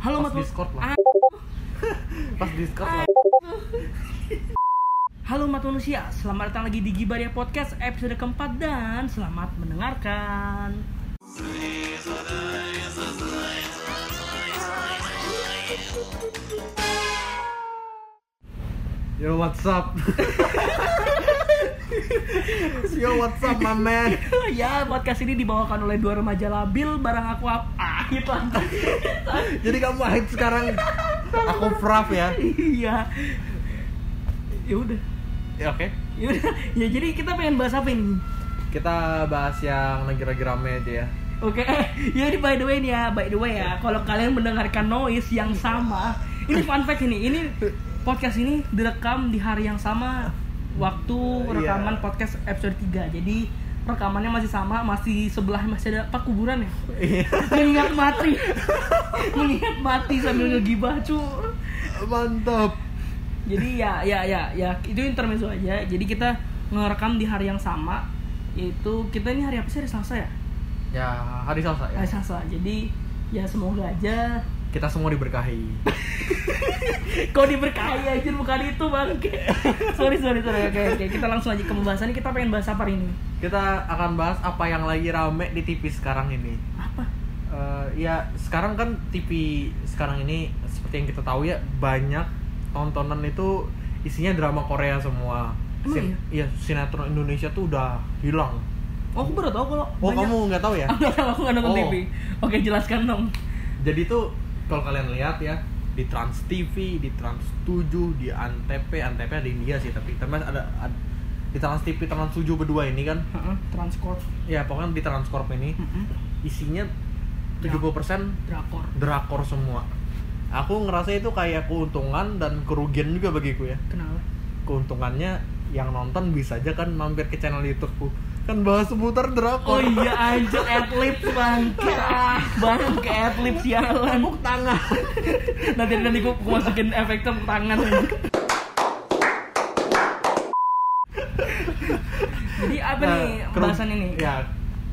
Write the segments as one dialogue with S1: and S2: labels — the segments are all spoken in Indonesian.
S1: Halo
S2: Pas
S1: Mas Mul-
S2: Discord lah.
S1: Ah,
S2: pas Discord lah.
S1: Halo umat manusia, selamat datang lagi di Gibaria Podcast episode keempat dan selamat mendengarkan.
S2: Yo what's up? Yo what's up my man?
S1: ya, podcast ini dibawakan oleh dua remaja labil barang aku apa? Ah, gitu.
S2: Jadi kamu hype sekarang aku fraf ya.
S1: Iya. Ya udah.
S2: Ya oke.
S1: Ya udah. Ya jadi kita pengen bahas apa ini?
S2: Kita bahas yang lagi lagi rame aja ya.
S1: Oke, ya ini by the way nih ya, by the way ya, kalau kalian mendengarkan noise yang sama, ini fun fact ini, ini podcast ini direkam di hari yang sama waktu
S2: Iya.
S1: rekaman podcast episode 3 jadi rekamannya masih sama, masih sebelah masih ada pak kuburan ya,
S2: Iya.
S1: mengingat mati, mengingat mati sambil ngegibah cu,
S2: Mantap.
S1: jadi ya ya ya ya itu intermezzo aja, jadi kita ngerekam di hari yang sama, yaitu kita ini hari apa sih hari Selasa ya?
S2: Ya, hari Selasa ya.
S1: Hari Selasa, jadi ya semoga aja
S2: Kita semua diberkahi.
S1: Kau diberkahi aja bukan itu bangke. sorry sorry sorry. Oke oke kita langsung aja ke pembahasan. Kita pengen bahas apa hari ini?
S2: Kita akan bahas apa yang lagi rame di TV sekarang ini.
S1: Apa?
S2: Eh, ya sekarang kan TV sekarang ini seperti yang kita tahu ya banyak tontonan itu isinya drama Korea semua.
S1: Emang
S2: iya? sinetron Indonesia tuh udah hilang.
S1: Oh, aku baru tahu kalau
S2: Oh
S1: banyak.
S2: kamu nggak tahu ya?
S1: Ah, nggak tahu, aku nggak nonton
S2: Oh.
S1: TV. Oke jelaskan dong.
S2: Jadi tuh kalau kalian lihat ya di Trans TV, di Trans 7, di Antv, Antv ada India sih tapi tapi ada, ada- di Trans TV, Trans 7 berdua ini kan
S1: Heeh, Transcorp.
S2: ya pokoknya di Transcorp ini
S1: Heeh,
S2: isinya 70%
S1: Drakor.
S2: drakor semua aku ngerasa itu kayak keuntungan dan kerugian juga bagiku ya
S1: Kenal.
S2: keuntungannya yang nonton bisa aja kan mampir ke channel YouTubeku kan bahas
S1: Oh
S2: seputar drakor
S1: iya anjir adlibs bangke ah, bangke adlibs sialan Tepuk tangan Nanti nanti gua, gua masukin efek tepuk tangan Jadi apa
S2: Nah,
S1: nih
S2: keru-
S1: pembahasan ini?
S2: ya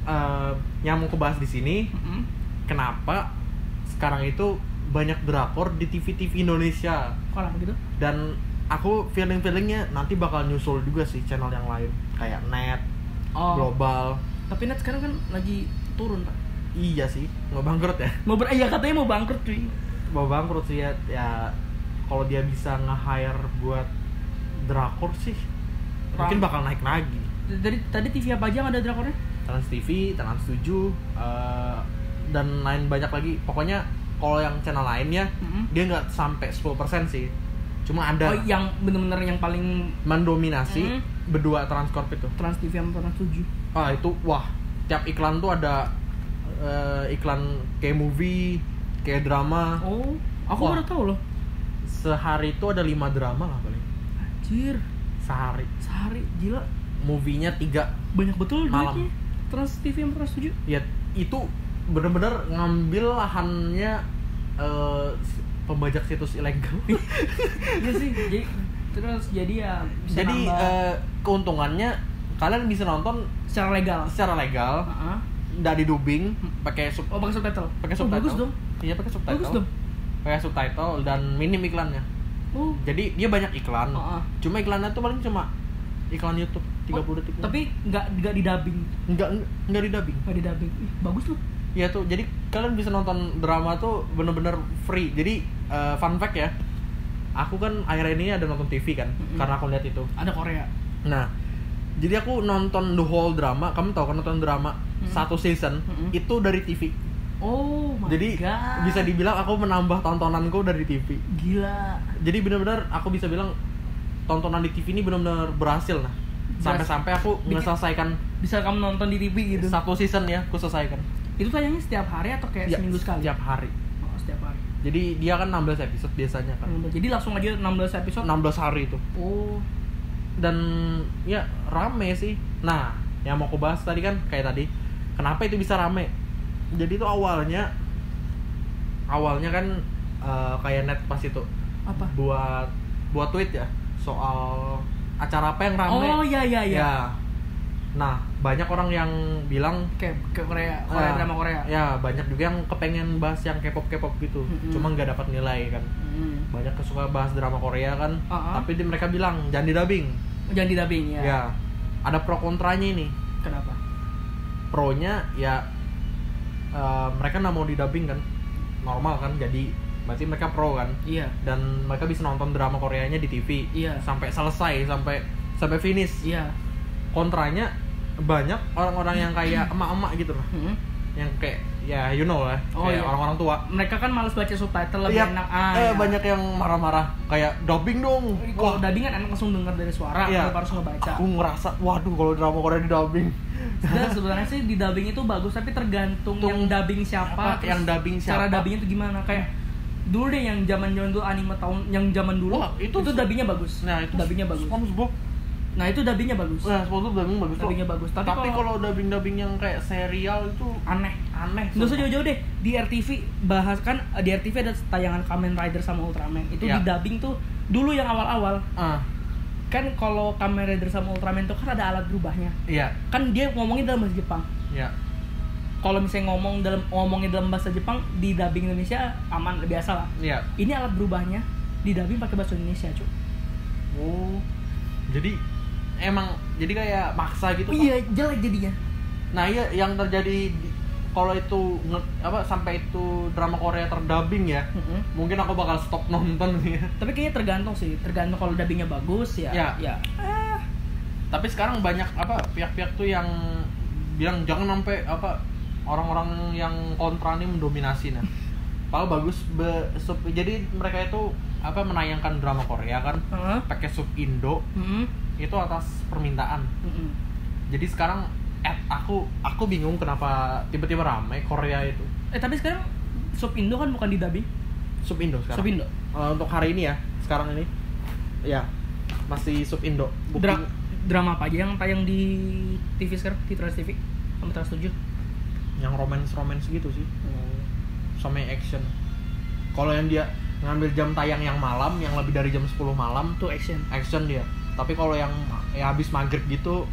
S2: eh, yang mau kebahas di sini
S1: Mm-mm.
S2: kenapa sekarang itu banyak drakor di TV TV Indonesia
S1: Kalau begitu?
S2: dan aku feeling feelingnya nanti bakal nyusul juga sih channel yang lain kayak net
S1: Oh.
S2: global
S1: Tapi net sekarang kan lagi turun pak.
S2: iya sih nggak bangkrut ya
S1: Mau ber, ya katanya mau bangkrut cuy.
S2: mau bangkrut sih ya, ya kalau dia bisa nge-hire buat drakor sih
S1: Ram-
S2: mungkin bakal naik lagi
S1: Dari tadi TV apa aja yang ada drakornya?
S2: Trans TV, Trans 7 eh, dan lain banyak lagi pokoknya kalau yang channel lainnya
S1: Mm-mm.
S2: dia nggak sampai 10% sih cuma ada
S1: Oh, yang bener-bener yang paling
S2: mendominasi
S1: Mhm.
S2: berdua Transcorp itu
S1: trans TV yang pernah tujuh.
S2: ah itu wah tiap iklan tuh ada eh, iklan kayak movie kayak drama
S1: Oh, aku
S2: Wah.
S1: baru tahu loh.
S2: sehari itu ada lima drama lah paling
S1: Anjir,
S2: sehari
S1: sehari gila
S2: movie-nya tiga
S1: banyak betul
S2: Malam.
S1: duitnya. Trans TV yang pernah tujuh.
S2: ya itu bener-bener ngambil lahannya eh, s- pembajak situs ilegal
S1: Iya sih. Jadi terus jadi ya bisa
S2: jadi
S1: nambah
S2: eh, keuntungannya kalian bisa nonton
S1: secara legal.
S2: secara legal
S1: Heeh.
S2: nggak di dubbing pakai sub
S1: Oh, pakai subtitle.
S2: pakai
S1: oh,
S2: subtitle
S1: bagus dong.
S2: iya pakai subtitle
S1: Bagus dong.
S2: pakai subtitle dan minim iklannya
S1: Oh.
S2: jadi dia banyak iklan
S1: Heeh.
S2: cuma iklannya tuh paling cuma iklan YouTube 30
S1: Oh,
S2: detik
S1: Tapi nggak nggak didubbing,
S2: nggak nggak di dubbing
S1: nggak didubbing. Ih, bagus loh.
S2: Iya tuh, jadi kalian bisa nonton drama tuh bener-bener free. Jadi eh, fun fact ya, aku kan akhir ini ada nonton TV kan,
S1: Mm-mm.
S2: karena aku lihat itu.
S1: Ada Korea.
S2: Nah, jadi aku nonton the whole drama. Kamu tau kan nonton drama
S1: Mm.
S2: satu season
S1: Mm-mm.
S2: itu dari TV.
S1: Oh my
S2: jadi
S1: god.
S2: bisa dibilang aku menambah tontonanku dari TV.
S1: gila.
S2: Jadi bener-bener aku bisa bilang tontonan di TV ini bener-bener berhasil nah. Sampai-sampai aku
S1: Bikin-
S2: ngeselesaikan
S1: Bisa kamu nonton di TV gitu.
S2: satu season ya, aku selesaikan.
S1: Itu tayangnya setiap hari atau kayak
S2: Ya,
S1: seminggu sekali?
S2: Tiap hari.
S1: Oh, setiap hari.
S2: Jadi dia kan 16 episode biasanya kan.
S1: Jadi langsung aja 16 episode.
S2: 16 hari itu
S1: Oh.
S2: dan ya rame sih nah yang mau aku bahas tadi kan kayak tadi kenapa itu bisa rame jadi itu awalnya awalnya kan eh, kayak net pas itu
S1: Apa?
S2: buat buat tweet ya soal acara apa yang rame
S1: iya, Oh, iya iya iya.
S2: nah banyak orang yang bilang
S1: kayak ke Korea Korea
S2: ah,
S1: drama Korea
S2: ya banyak juga yang kepengen bahas yang K-pop K-pop gitu
S1: Mm-mm.
S2: cuma nggak dapat nilai kan
S1: Mm.
S2: banyak yang suka bahas drama Korea kan
S1: Ah, ah.
S2: tapi di mereka bilang jangan didubbing
S1: jangan di dubbing ya.
S2: ya. ada pro kontranya ini
S1: kenapa
S2: pronya ya eh, mereka nggak mau didubbing kan normal kan jadi berarti mereka pro kan
S1: iya
S2: dan mereka bisa nonton drama Koreanya di TV
S1: Iya.
S2: sampai selesai sampai sampai finish
S1: iya
S2: kontranya banyak orang-orang yang kayak emak-emak gitu loh
S1: Mm.
S2: yang kayak ya you know lah
S1: Oh, iya.
S2: kayak orang-orang tua
S1: mereka kan malas baca subtitle lebih
S2: Iya,
S1: enak ah
S2: eh,
S1: ya.
S2: banyak yang marah-marah kayak dubbing dong
S1: kalau
S2: Wah,
S1: dubbing kan enak langsung denger dari suara
S2: Iya.
S1: tanpa harus ngebaca
S2: aku ngerasa waduh kalau drama Korea di dubbing
S1: dan sebenarnya sih di dubbing itu bagus tapi tergantung
S2: Tung-
S1: yang dubbing siapa
S2: Apa, yang
S1: terus
S2: dubbing
S1: cara
S2: siapa?
S1: dubbingnya itu gimana kayak dulu deh yang zaman zaman dulu anime tahun yang zaman dulu
S2: Wah, itu-
S1: itu itu dubbingnya bagus
S2: nah itu
S1: dubbingnya bagus
S2: SpongeBob
S1: nah itu dubbingnya bagus
S2: nah SpongeBob dubbing bagus kok.
S1: dubbingnya bagus tapi,
S2: tapi
S1: kalau
S2: kalau dubbing-dubbing yang kayak serial itu
S1: aneh
S2: aneh
S1: nggak usah
S2: sumpah.
S1: jauh-jauh deh di RTV bahas kan eh, di RTV ada tayangan Kamen Rider sama Ultraman itu di
S2: Iya.
S1: dubbing tuh dulu yang awal-awal
S2: ah
S1: kan kalau Kamen Rider sama Ultraman tuh kan ada alat berubahnya
S2: iya
S1: kan dia ngomongin dalam bahasa Jepang
S2: iya
S1: kalau misalnya ngomong dalam ngomongin dalam bahasa Jepang di dubbing Indonesia aman biasa lah
S2: iya
S1: ini alat berubahnya di dubbing pakai bahasa Indonesia cuy
S2: oh jadi emang jadi kayak maksa gitu Pak.
S1: Iya, jelek jadinya
S2: Nah iya yang terjadi di- kalau itu nge- apa sampai itu drama Korea terdubbing ya,
S1: Mm-mm.
S2: mungkin aku bakal stop nonton ya.
S1: tapi kayaknya tergantung sih tergantung kalau dubbingnya bagus ya
S2: Iya.
S1: ya
S2: Tapi sekarang banyak apa pihak-pihak tuh yang bilang jangan sampai apa orang-orang yang kontra ini mendominasi nah. Padahal bagus be- sub- jadi mereka itu apa menayangkan drama Korea kan
S1: Heeh.
S2: pakai sub Indo
S1: Mm-mm.
S2: itu atas permintaan.
S1: Mm-mm.
S2: Jadi sekarang eh, aku aku bingung kenapa tiba-tiba ramai Korea itu
S1: eh tapi sekarang sub Indo kan bukan di dubbing
S2: sub Indo sekarang.
S1: sub Indo
S2: Eh, untuk hari ini ya sekarang ini ya masih sub Indo Booking-
S1: Dra- drama apa aja yang tayang di TV sekarang di Trans TV sama Trans 7
S2: yang romance romance gitu sih sama yang action kalau yang dia ngambil jam tayang yang malam yang lebih dari jam 10 malam
S1: tuh action
S2: action dia tapi kalau yang ya habis maghrib gitu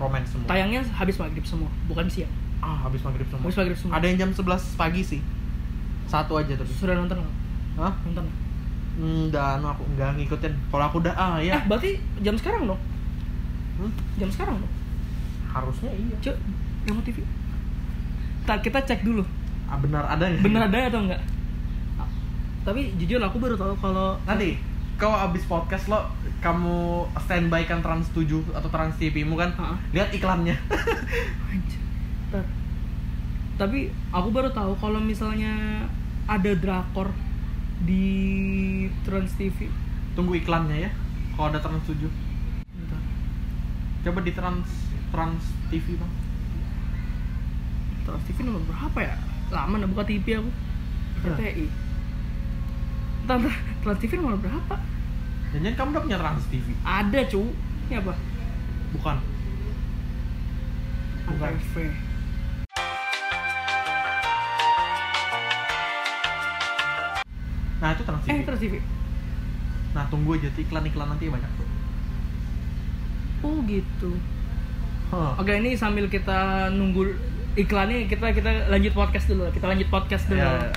S2: romance semua
S1: tayangnya habis maghrib semua bukan siang
S2: ah habis maghrib semua
S1: habis maghrib semua
S2: ada yang jam 11 pagi sih satu aja tapi
S1: sudah nonton nggak?
S2: Hah?
S1: nonton nggak?
S2: enggak no, aku enggak ngikutin kalau aku udah ah
S1: eh
S2: ya
S1: berarti jam sekarang dong
S2: Hmm,
S1: jam sekarang dong
S2: harusnya iya
S1: Cuk, remote TV. Ntar kita cek dulu,
S2: ah, benar adanya
S1: bener ada atau enggak. Tapi jujur lah, aku baru tahu kalau
S2: Ah. Nanti kau abis podcast lo kamu standby kan Trans 7 atau Trans TV mu kan
S1: Heeh.
S2: lihat iklannya.
S1: Anjir. Ntar. Tapi aku baru tahu kalau misalnya ada drakor di Trans TV.
S2: Tunggu iklannya ya. Kalau ada Trans 7.
S1: Bentar.
S2: Coba di Trans Trans TV bang.
S1: Trans TV nomor berapa ya? Lama udah buka TV aku. RTI. Ntar, ntar. Trans TV nomor berapa?
S2: Jangan kamu udah punya Trans TV?
S1: Ada, cu. Ini apa?
S2: Bukan. Bukan.
S1: ATV.
S2: Nah itu Trans TV.
S1: Eh, Trans TV.
S2: Nah tunggu aja tuh iklan-iklan nanti ya banyak tuh.
S1: Oh, gitu.
S2: Hah.
S1: Oke ini sambil kita nunggu iklannya kita kita lanjut podcast dulu kita lanjut podcast dulu
S2: Ya,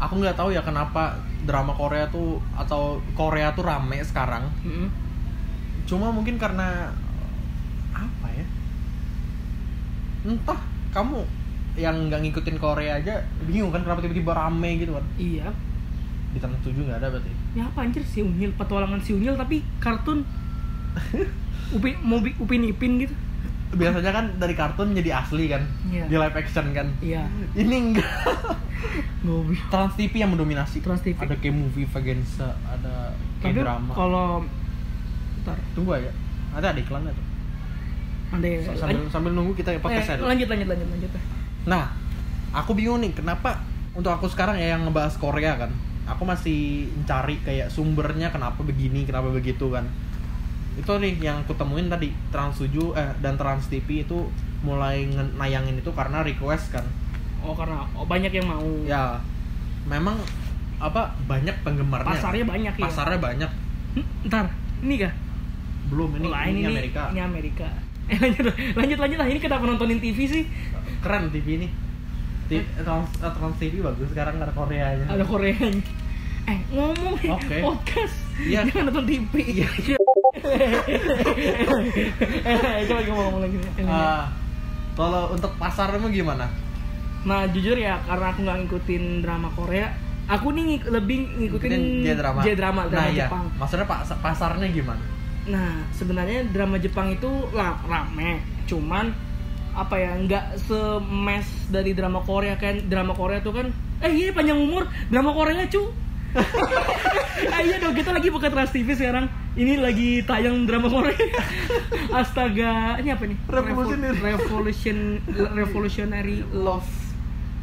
S2: aku nggak tahu ya kenapa drama Korea tuh atau Korea tuh rame sekarang.
S1: Mm-mm.
S2: cuma mungkin karena apa ya entah kamu yang nggak ngikutin Korea aja bingung kan kenapa tiba-tiba rame gitu kan
S1: iya
S2: di tanah tujuh nggak ada berarti
S1: ya apa anjir si unyil petualangan si unyil tapi kartun upin mau bi- upin ipin gitu
S2: biasanya kan dari kartun jadi asli kan
S1: Iya.
S2: di live action kan
S1: iya
S2: ini enggak
S1: goblok
S2: trans TV yang mendominasi
S1: Trans TV.
S2: ada kayak movie Vagenza ada
S1: tapi
S2: kayak drama
S1: kalau ntar
S2: tunggu aja nanti ada iklannya tuh
S1: ada ya
S2: S- sambil, sambil nunggu kita podcast aja
S1: eh, lanjut lanjut lanjut lanjut eh.
S2: Nah, aku bingung nih kenapa untuk aku sekarang ya yang ngebahas Korea kan. Aku masih mencari kayak sumbernya kenapa begini, kenapa begitu kan. Itu nih yang aku temuin tadi Trans 7 eh, dan Trans TV itu mulai nge- nayangin itu karena request kan.
S1: oh karena oh, banyak yang mau
S2: Ya memang apa banyak penggemarnya.
S1: pasarnya banyak ya
S2: Pasarnya banyak.
S1: Hmm, ntar ini kah
S2: Belum ini,
S1: Lah,
S2: ini, Amerika.
S1: ini Amerika Eh lanjut lanjut lanjut lah ini kenapa nontonin TV sih?
S2: Keren TV ini. Ti- Trans, eh, Trans TV bagus sekarang ada Koreanya.
S1: Ada Korean. Eh ngomong nih,
S2: Oke.
S1: podcast.
S2: Iya.
S1: Jangan nonton TV. Iya. eh, coba gua ngomong lagi. Eh, lanjut.
S2: Ah, kalau untuk pasarmu gimana?
S1: Nah jujur ya karena aku nggak ngikutin drama Korea, aku nih ngik- lebih ngikutin
S2: J-drama.
S1: J-drama, drama
S2: nah, iya.
S1: Jepang.
S2: Maksudnya pak pasarnya gimana?
S1: Nah sebenarnya drama Jepang itu lah rame, cuman apa ya nggak semes dari drama Korea kan drama Korea tuh kan eh ini panjang umur drama Koreanya cu Eh, iya dong kita lagi buka Trans TV sekarang ini lagi tayang drama Korea astaga ini apa nih
S2: Revolutionary.
S1: revolution revolutionary love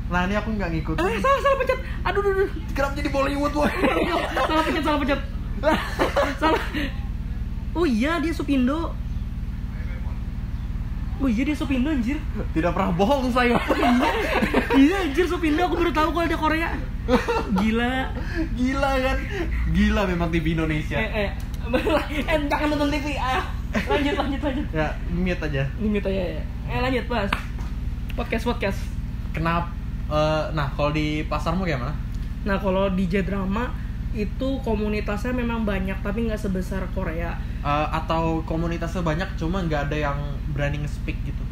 S2: Nah ini aku nggak ngikutin.
S1: eh salah salah pencet aduh aduh, aduh.
S2: Kenapa jadi Bollywood woy?
S1: salah pencet salah pencet salah oh iya dia supindo oh iya dia supindo anjir
S2: Tidak pernah bohong saya.
S1: iya anjir supindo aku baru tahu kalau dia Korea gila
S2: Gila kan? Gila memang TV Indonesia.
S1: eh eh eh jangan nonton TV ah lanjut lanjut lanjut
S2: Ya mute aja.
S1: limit aja ya eh lanjut mas podcast podcast
S2: Kenapa? eh, nah kalau di pasarmu kayak mana?
S1: Nah kalau di J drama itu komunitasnya memang banyak tapi nggak sebesar Korea.
S2: Eh, atau komunitasnya banyak cuma nggak ada yang berani nge-speak gitu.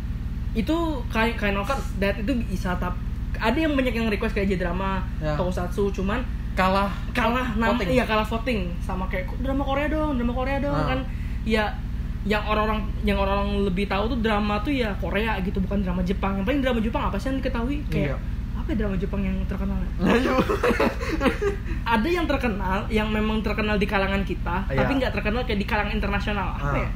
S1: Itu kayak kind of that itu bisa tap ada yang banyak yang request kayak J drama,
S2: Ya.
S1: tokusatsu cuman
S2: Kalah.
S1: kalah nama
S2: Voting.
S1: iya kalah voting sama kayak "Kok drama Korea dong, drama Korea dong
S2: Ah.
S1: kan ya yang orang-orang yang orang-orang lebih tahu tuh drama tuh ya Korea gitu bukan drama Jepang. Yang paling drama Jepang apa sih yang diketahui kayak
S2: Iya.
S1: apa ya drama Jepang yang terkenal?
S2: Ayo.
S1: ada yang terkenal yang memang terkenal di kalangan kita
S2: Iya.
S1: tapi nggak terkenal kayak di kalangan internasional apa
S2: Ah.
S1: ya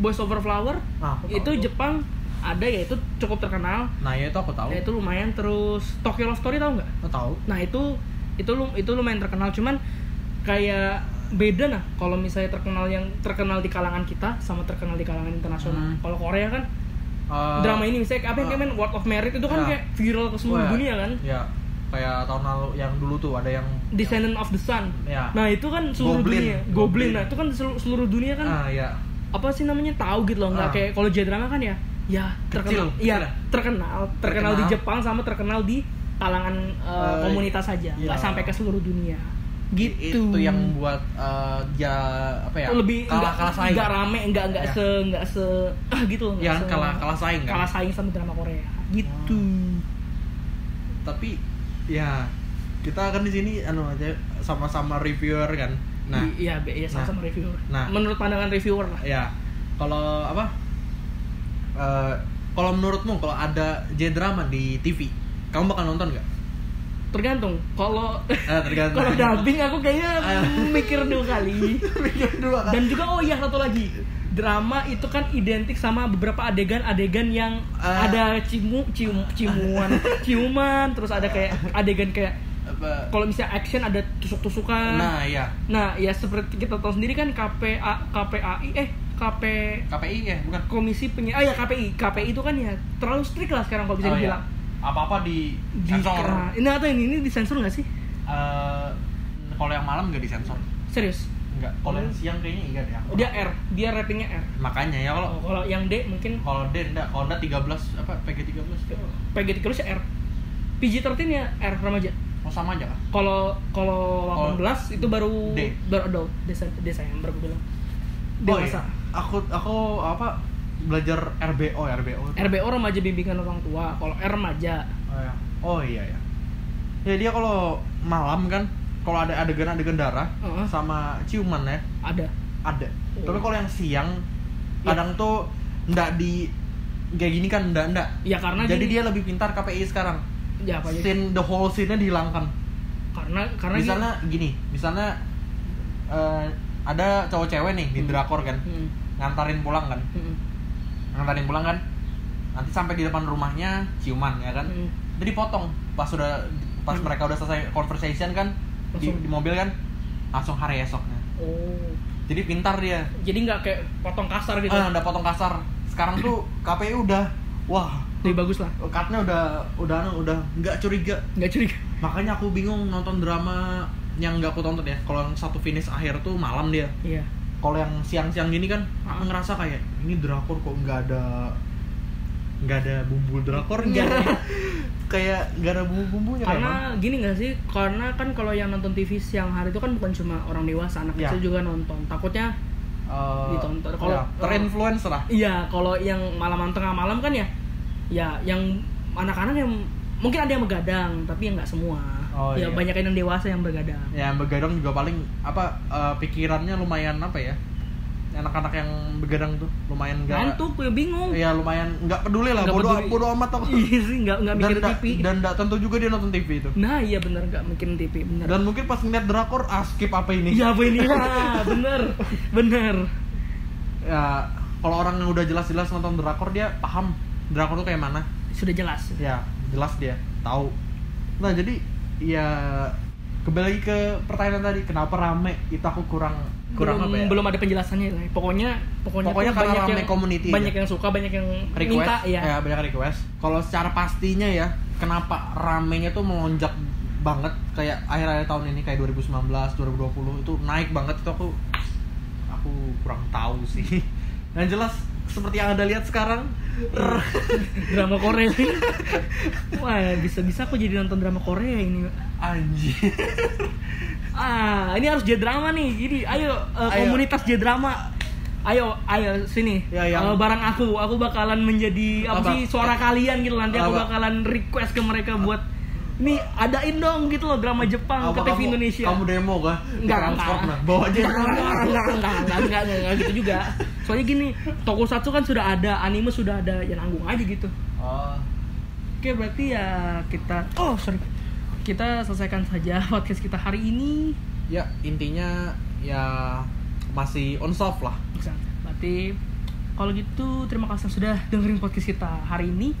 S1: Boys Over Flower
S2: Ah, aku tahu
S1: itu
S2: tuh.
S1: Jepang ada ya itu cukup terkenal
S2: Nah ya itu aku tahu.
S1: ya itu lumayan terus Tokyo Love Story tau nggak
S2: Aku tahu.
S1: nah itu itu lu- itu lumayan terkenal cuman kayak beda nah kalau misalnya terkenal yang terkenal di kalangan kita sama terkenal di kalangan internasional
S2: Hmm.
S1: kalau Korea kan
S2: Eh,
S1: drama ini misalnya apa yang
S2: ah.
S1: kayak main World of Merit itu kan
S2: Ya.
S1: kayak viral ke seluruh
S2: Wah,
S1: dunia kan
S2: Ya, kayak tahun lalu yang dulu tuh ada yang
S1: Descendant of the Sun
S2: Ya.
S1: Nah itu kan seluruh
S2: Goblin.
S1: dunia, goblin.
S2: Goblin.
S1: Nah itu kan seluruh, seluruh dunia kan
S2: ah ya.
S1: apa sih namanya tahu gitu loh. Nggak
S2: Ah.
S1: kayak kalau J-drama kan ya, ya terkenal,
S2: Kecil,
S1: ya
S2: kecil lah.
S1: terkenal, terkenal di
S2: Terkenal.
S1: Jepang sama terkenal di kalangan eh,
S2: Eh,
S1: komunitas saja,
S2: iya.
S1: nggak sampai ke seluruh dunia. Gitu.
S2: Itu yang buat eh, dia apa ya?
S1: lebih
S2: kalah
S1: nggak-
S2: kalah saing.
S1: nggak rame, nggak nggak
S2: Ya.
S1: se nggak se ah gitu loh. nggak
S2: Ya kan
S1: se-
S2: kalah kalah saing kan.
S1: kalah saing sama drama Korea. Gitu.
S2: Tapi ya kita kan di sini anu aja sama-sama reviewer kan. Nah,
S1: I- iya, be- iya sama-sama reviewer.
S2: Nah.
S1: Menurut pandangan reviewer lah.
S2: ya kalau apa? Eh, kalau menurutmu kalau ada J-drama di TV, kamu bakal nonton nggak?
S1: Tergantung. Kalau
S2: Eh, tergantung.
S1: kalau dubbing aku kayaknya
S2: Ayo.
S1: mikir dua kali.
S2: Mikir dulu kan.
S1: Dan juga oh iya satu lagi drama itu kan identik sama beberapa adegan-adegan yang
S2: Ah.
S1: ada cium cium ciuman ciuman terus ada kayak adegan kayak
S2: Apa-
S1: kalau misalnya action ada tusuk-tusukan nah.
S2: Nah,
S1: ya
S2: ya.
S1: seperti kita tahu sendiri kan KPA KPAI eh KP
S2: KPI ya, bukan.
S1: Komisi Penyi ah ya KPI KPI itu kan ya terlalu strict lah sekarang kalau bisa
S2: Oh, iya.
S1: dibilang
S2: Apa-apa di
S1: Di- nah,
S2: sensor.
S1: ini atau ini ini disensor nggak sih
S2: Eh, kalau yang malam nggak disensor.
S1: serius
S2: Enggak. Kalau yang siang kayaknya enggak deh. aku.
S1: Iya. dia R dia ratingnya R
S2: Makanya ya kalau
S1: Oh, kalau yang D mungkin
S2: kalau D enggak, kalau enggak 13 apa PG 13.
S1: Iya. PG 13 ya R PG-13 ya R remaja
S2: Oh sama aja kan?
S1: kalau kalau
S2: Kalau
S1: 18 itu baru
S2: Oh. D.
S1: baru adult Desa- Desember gue bilang
S2: Oh, iya.
S1: dewasa
S2: Aku aku apa belajar RBO RBO.
S1: RBO remaja bimbingan orang tua kalau R remaja
S2: Oh iya. Oh iya ya. Ya dia kalau malam kan kalau ada adegan-adegan darah
S1: Heeh.
S2: sama ciuman ya
S1: ada
S2: ada.
S1: Oh.
S2: Tapi kalau yang siang
S1: Iya.
S2: kadang tuh enggak di kayak gini kan enggak enggak.
S1: ya karena
S2: Jadi
S1: gini-
S2: dia lebih pintar KPI sekarang.
S1: ya apa aja
S2: Scene the whole scene-nya dihilangkan.
S1: karena karena
S2: misalnya gini, misalnya eh, ada cowok cewek nih di
S1: Hmm.
S2: drakor kan,
S1: gini- Hmm,
S2: ngantarin pulang kan,
S1: hmm,
S2: ngantarin pulang kan, nanti sampai di depan rumahnya ciuman ya kan,
S1: hmm.
S2: jadi dipotong pas udah pas
S1: Hmm.
S2: mereka udah selesai conversation kan di,
S1: Langsung.
S2: di mobil kan, langsung hari esoknya.
S1: oh
S2: Jadi pintar dia,
S1: jadi nggak kayak potong kasar gitu
S2: ah udah potong kasar. Sekarang tuh KPI udah, wah,
S1: lebih bagus lah
S2: cutnya udah udah udah nggak curiga
S1: nggak curiga
S2: makanya aku bingung nonton drama yang nggak aku tonton ya kalau yang satu finish akhir tuh malam dia
S1: iya
S2: kalau yang siang-siang gini kan
S1: Ah.
S2: aku ngerasa kayak ini drakor kok nggak ada nggak ada bumbu drakornya kayak nggak ada bumbu-bumbunya emang.
S1: karena gini gak sih karena kan kalau yang nonton TV siang hari itu kan bukan cuma orang dewasa anak
S2: Ya.
S1: kecil juga nonton takutnya
S2: Eh,
S1: ditonton. Kalau-
S2: ya, terinfluence lah
S1: iya kalau yang malaman tengah malam kan ya ya yang anak-anak yang mungkin ada yang begadang tapi ya nggak semua
S2: Oh,
S1: ya
S2: iya.
S1: banyak yang dewasa yang begadang
S2: ya yang begadang juga paling apa eh, pikirannya lumayan apa ya anak-anak yang begadang tuh lumayan nggak
S1: ngantuk gue bingung
S2: ya lumayan nggak peduli lah
S1: Nggak
S2: bodoh
S1: peduli.
S2: bodoh amat aku
S1: iya sih nggak nggak
S2: dan
S1: mikir
S2: nggak-
S1: TV
S2: dan nggak tentu juga dia nonton TV itu
S1: nah iya bener nggak mikirin TV bener
S2: dan mungkin pas ngeliat drakor ah skip apa ini
S1: iya apa ini Ah, bener bener
S2: ya kalau orang yang udah jelas-jelas nonton drakor dia paham drakor tuh kayak mana
S1: sudah jelas
S2: ya jelas dia tahu nah jadi ya kembali lagi ke pertanyaan tadi kenapa rame itu aku kurang kurang
S1: belum,
S2: apa ya
S1: belum ada penjelasannya lah. Pokoknya pokoknya,
S2: Pokoknya
S1: tuh
S2: karena
S1: banyak
S2: rame
S1: yang
S2: community
S1: banyak yang suka, banyak yang
S2: request
S1: minta ya.
S2: banyak request kalau secara pastinya ya kenapa ramenya tuh melonjak banget kayak akhir-akhir tahun ini kayak 2019 2020 itu naik banget itu aku aku kurang tahu sih dan jelas seperti yang anda lihat sekarang
S1: Drama Korea. Wah, bisa-bisa aku jadi nonton drama Korea ini.
S2: anjir
S1: Ah, ini harus J-drama nih. Jadi ayo, eh,
S2: Ayo.
S1: komunitas J-drama. Ayo, ayo sini.
S2: Ya,
S1: Eh,
S2: yang-
S1: barang aku, aku bakalan menjadi apa,
S2: Apa?
S1: sih suara kalian gitu nanti aku
S2: Apa?
S1: bakalan request ke mereka buat nih adain dong gitu loh drama Jepang ke
S2: Apa
S1: TV Indonesia.
S2: kamu demo kah Di
S1: Enggak,
S2: transport
S1: enggak.
S2: nah bawa aja
S1: enggak, enggak, enggak, enggak, enggak, enggak gitu juga. Soalnya gini, tokusatsu kan sudah ada, anime sudah ada, ya nanggung aja gitu.
S2: oh
S1: Oke, berarti ya kita Oh, sorry. Kita selesaikan saja podcast kita hari ini.
S2: ya intinya ya masih on soft lah
S1: Bisa. Berarti kalau gitu terima kasih yang sudah dengerin podcast kita hari ini.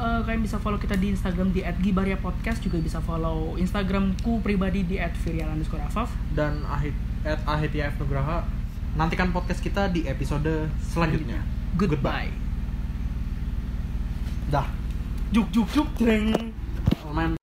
S1: Eh, kalian bisa follow kita di Instagram di @gibaria_podcast juga bisa follow Instagramku pribadi di @firial_afaf.
S2: dan Ahit at Ahitya F. Nugraha. Nantikan podcast kita di episode selanjutnya.
S1: Goodbye.
S2: Dah,
S1: Juk juk juk. Dreng.
S2: lumayan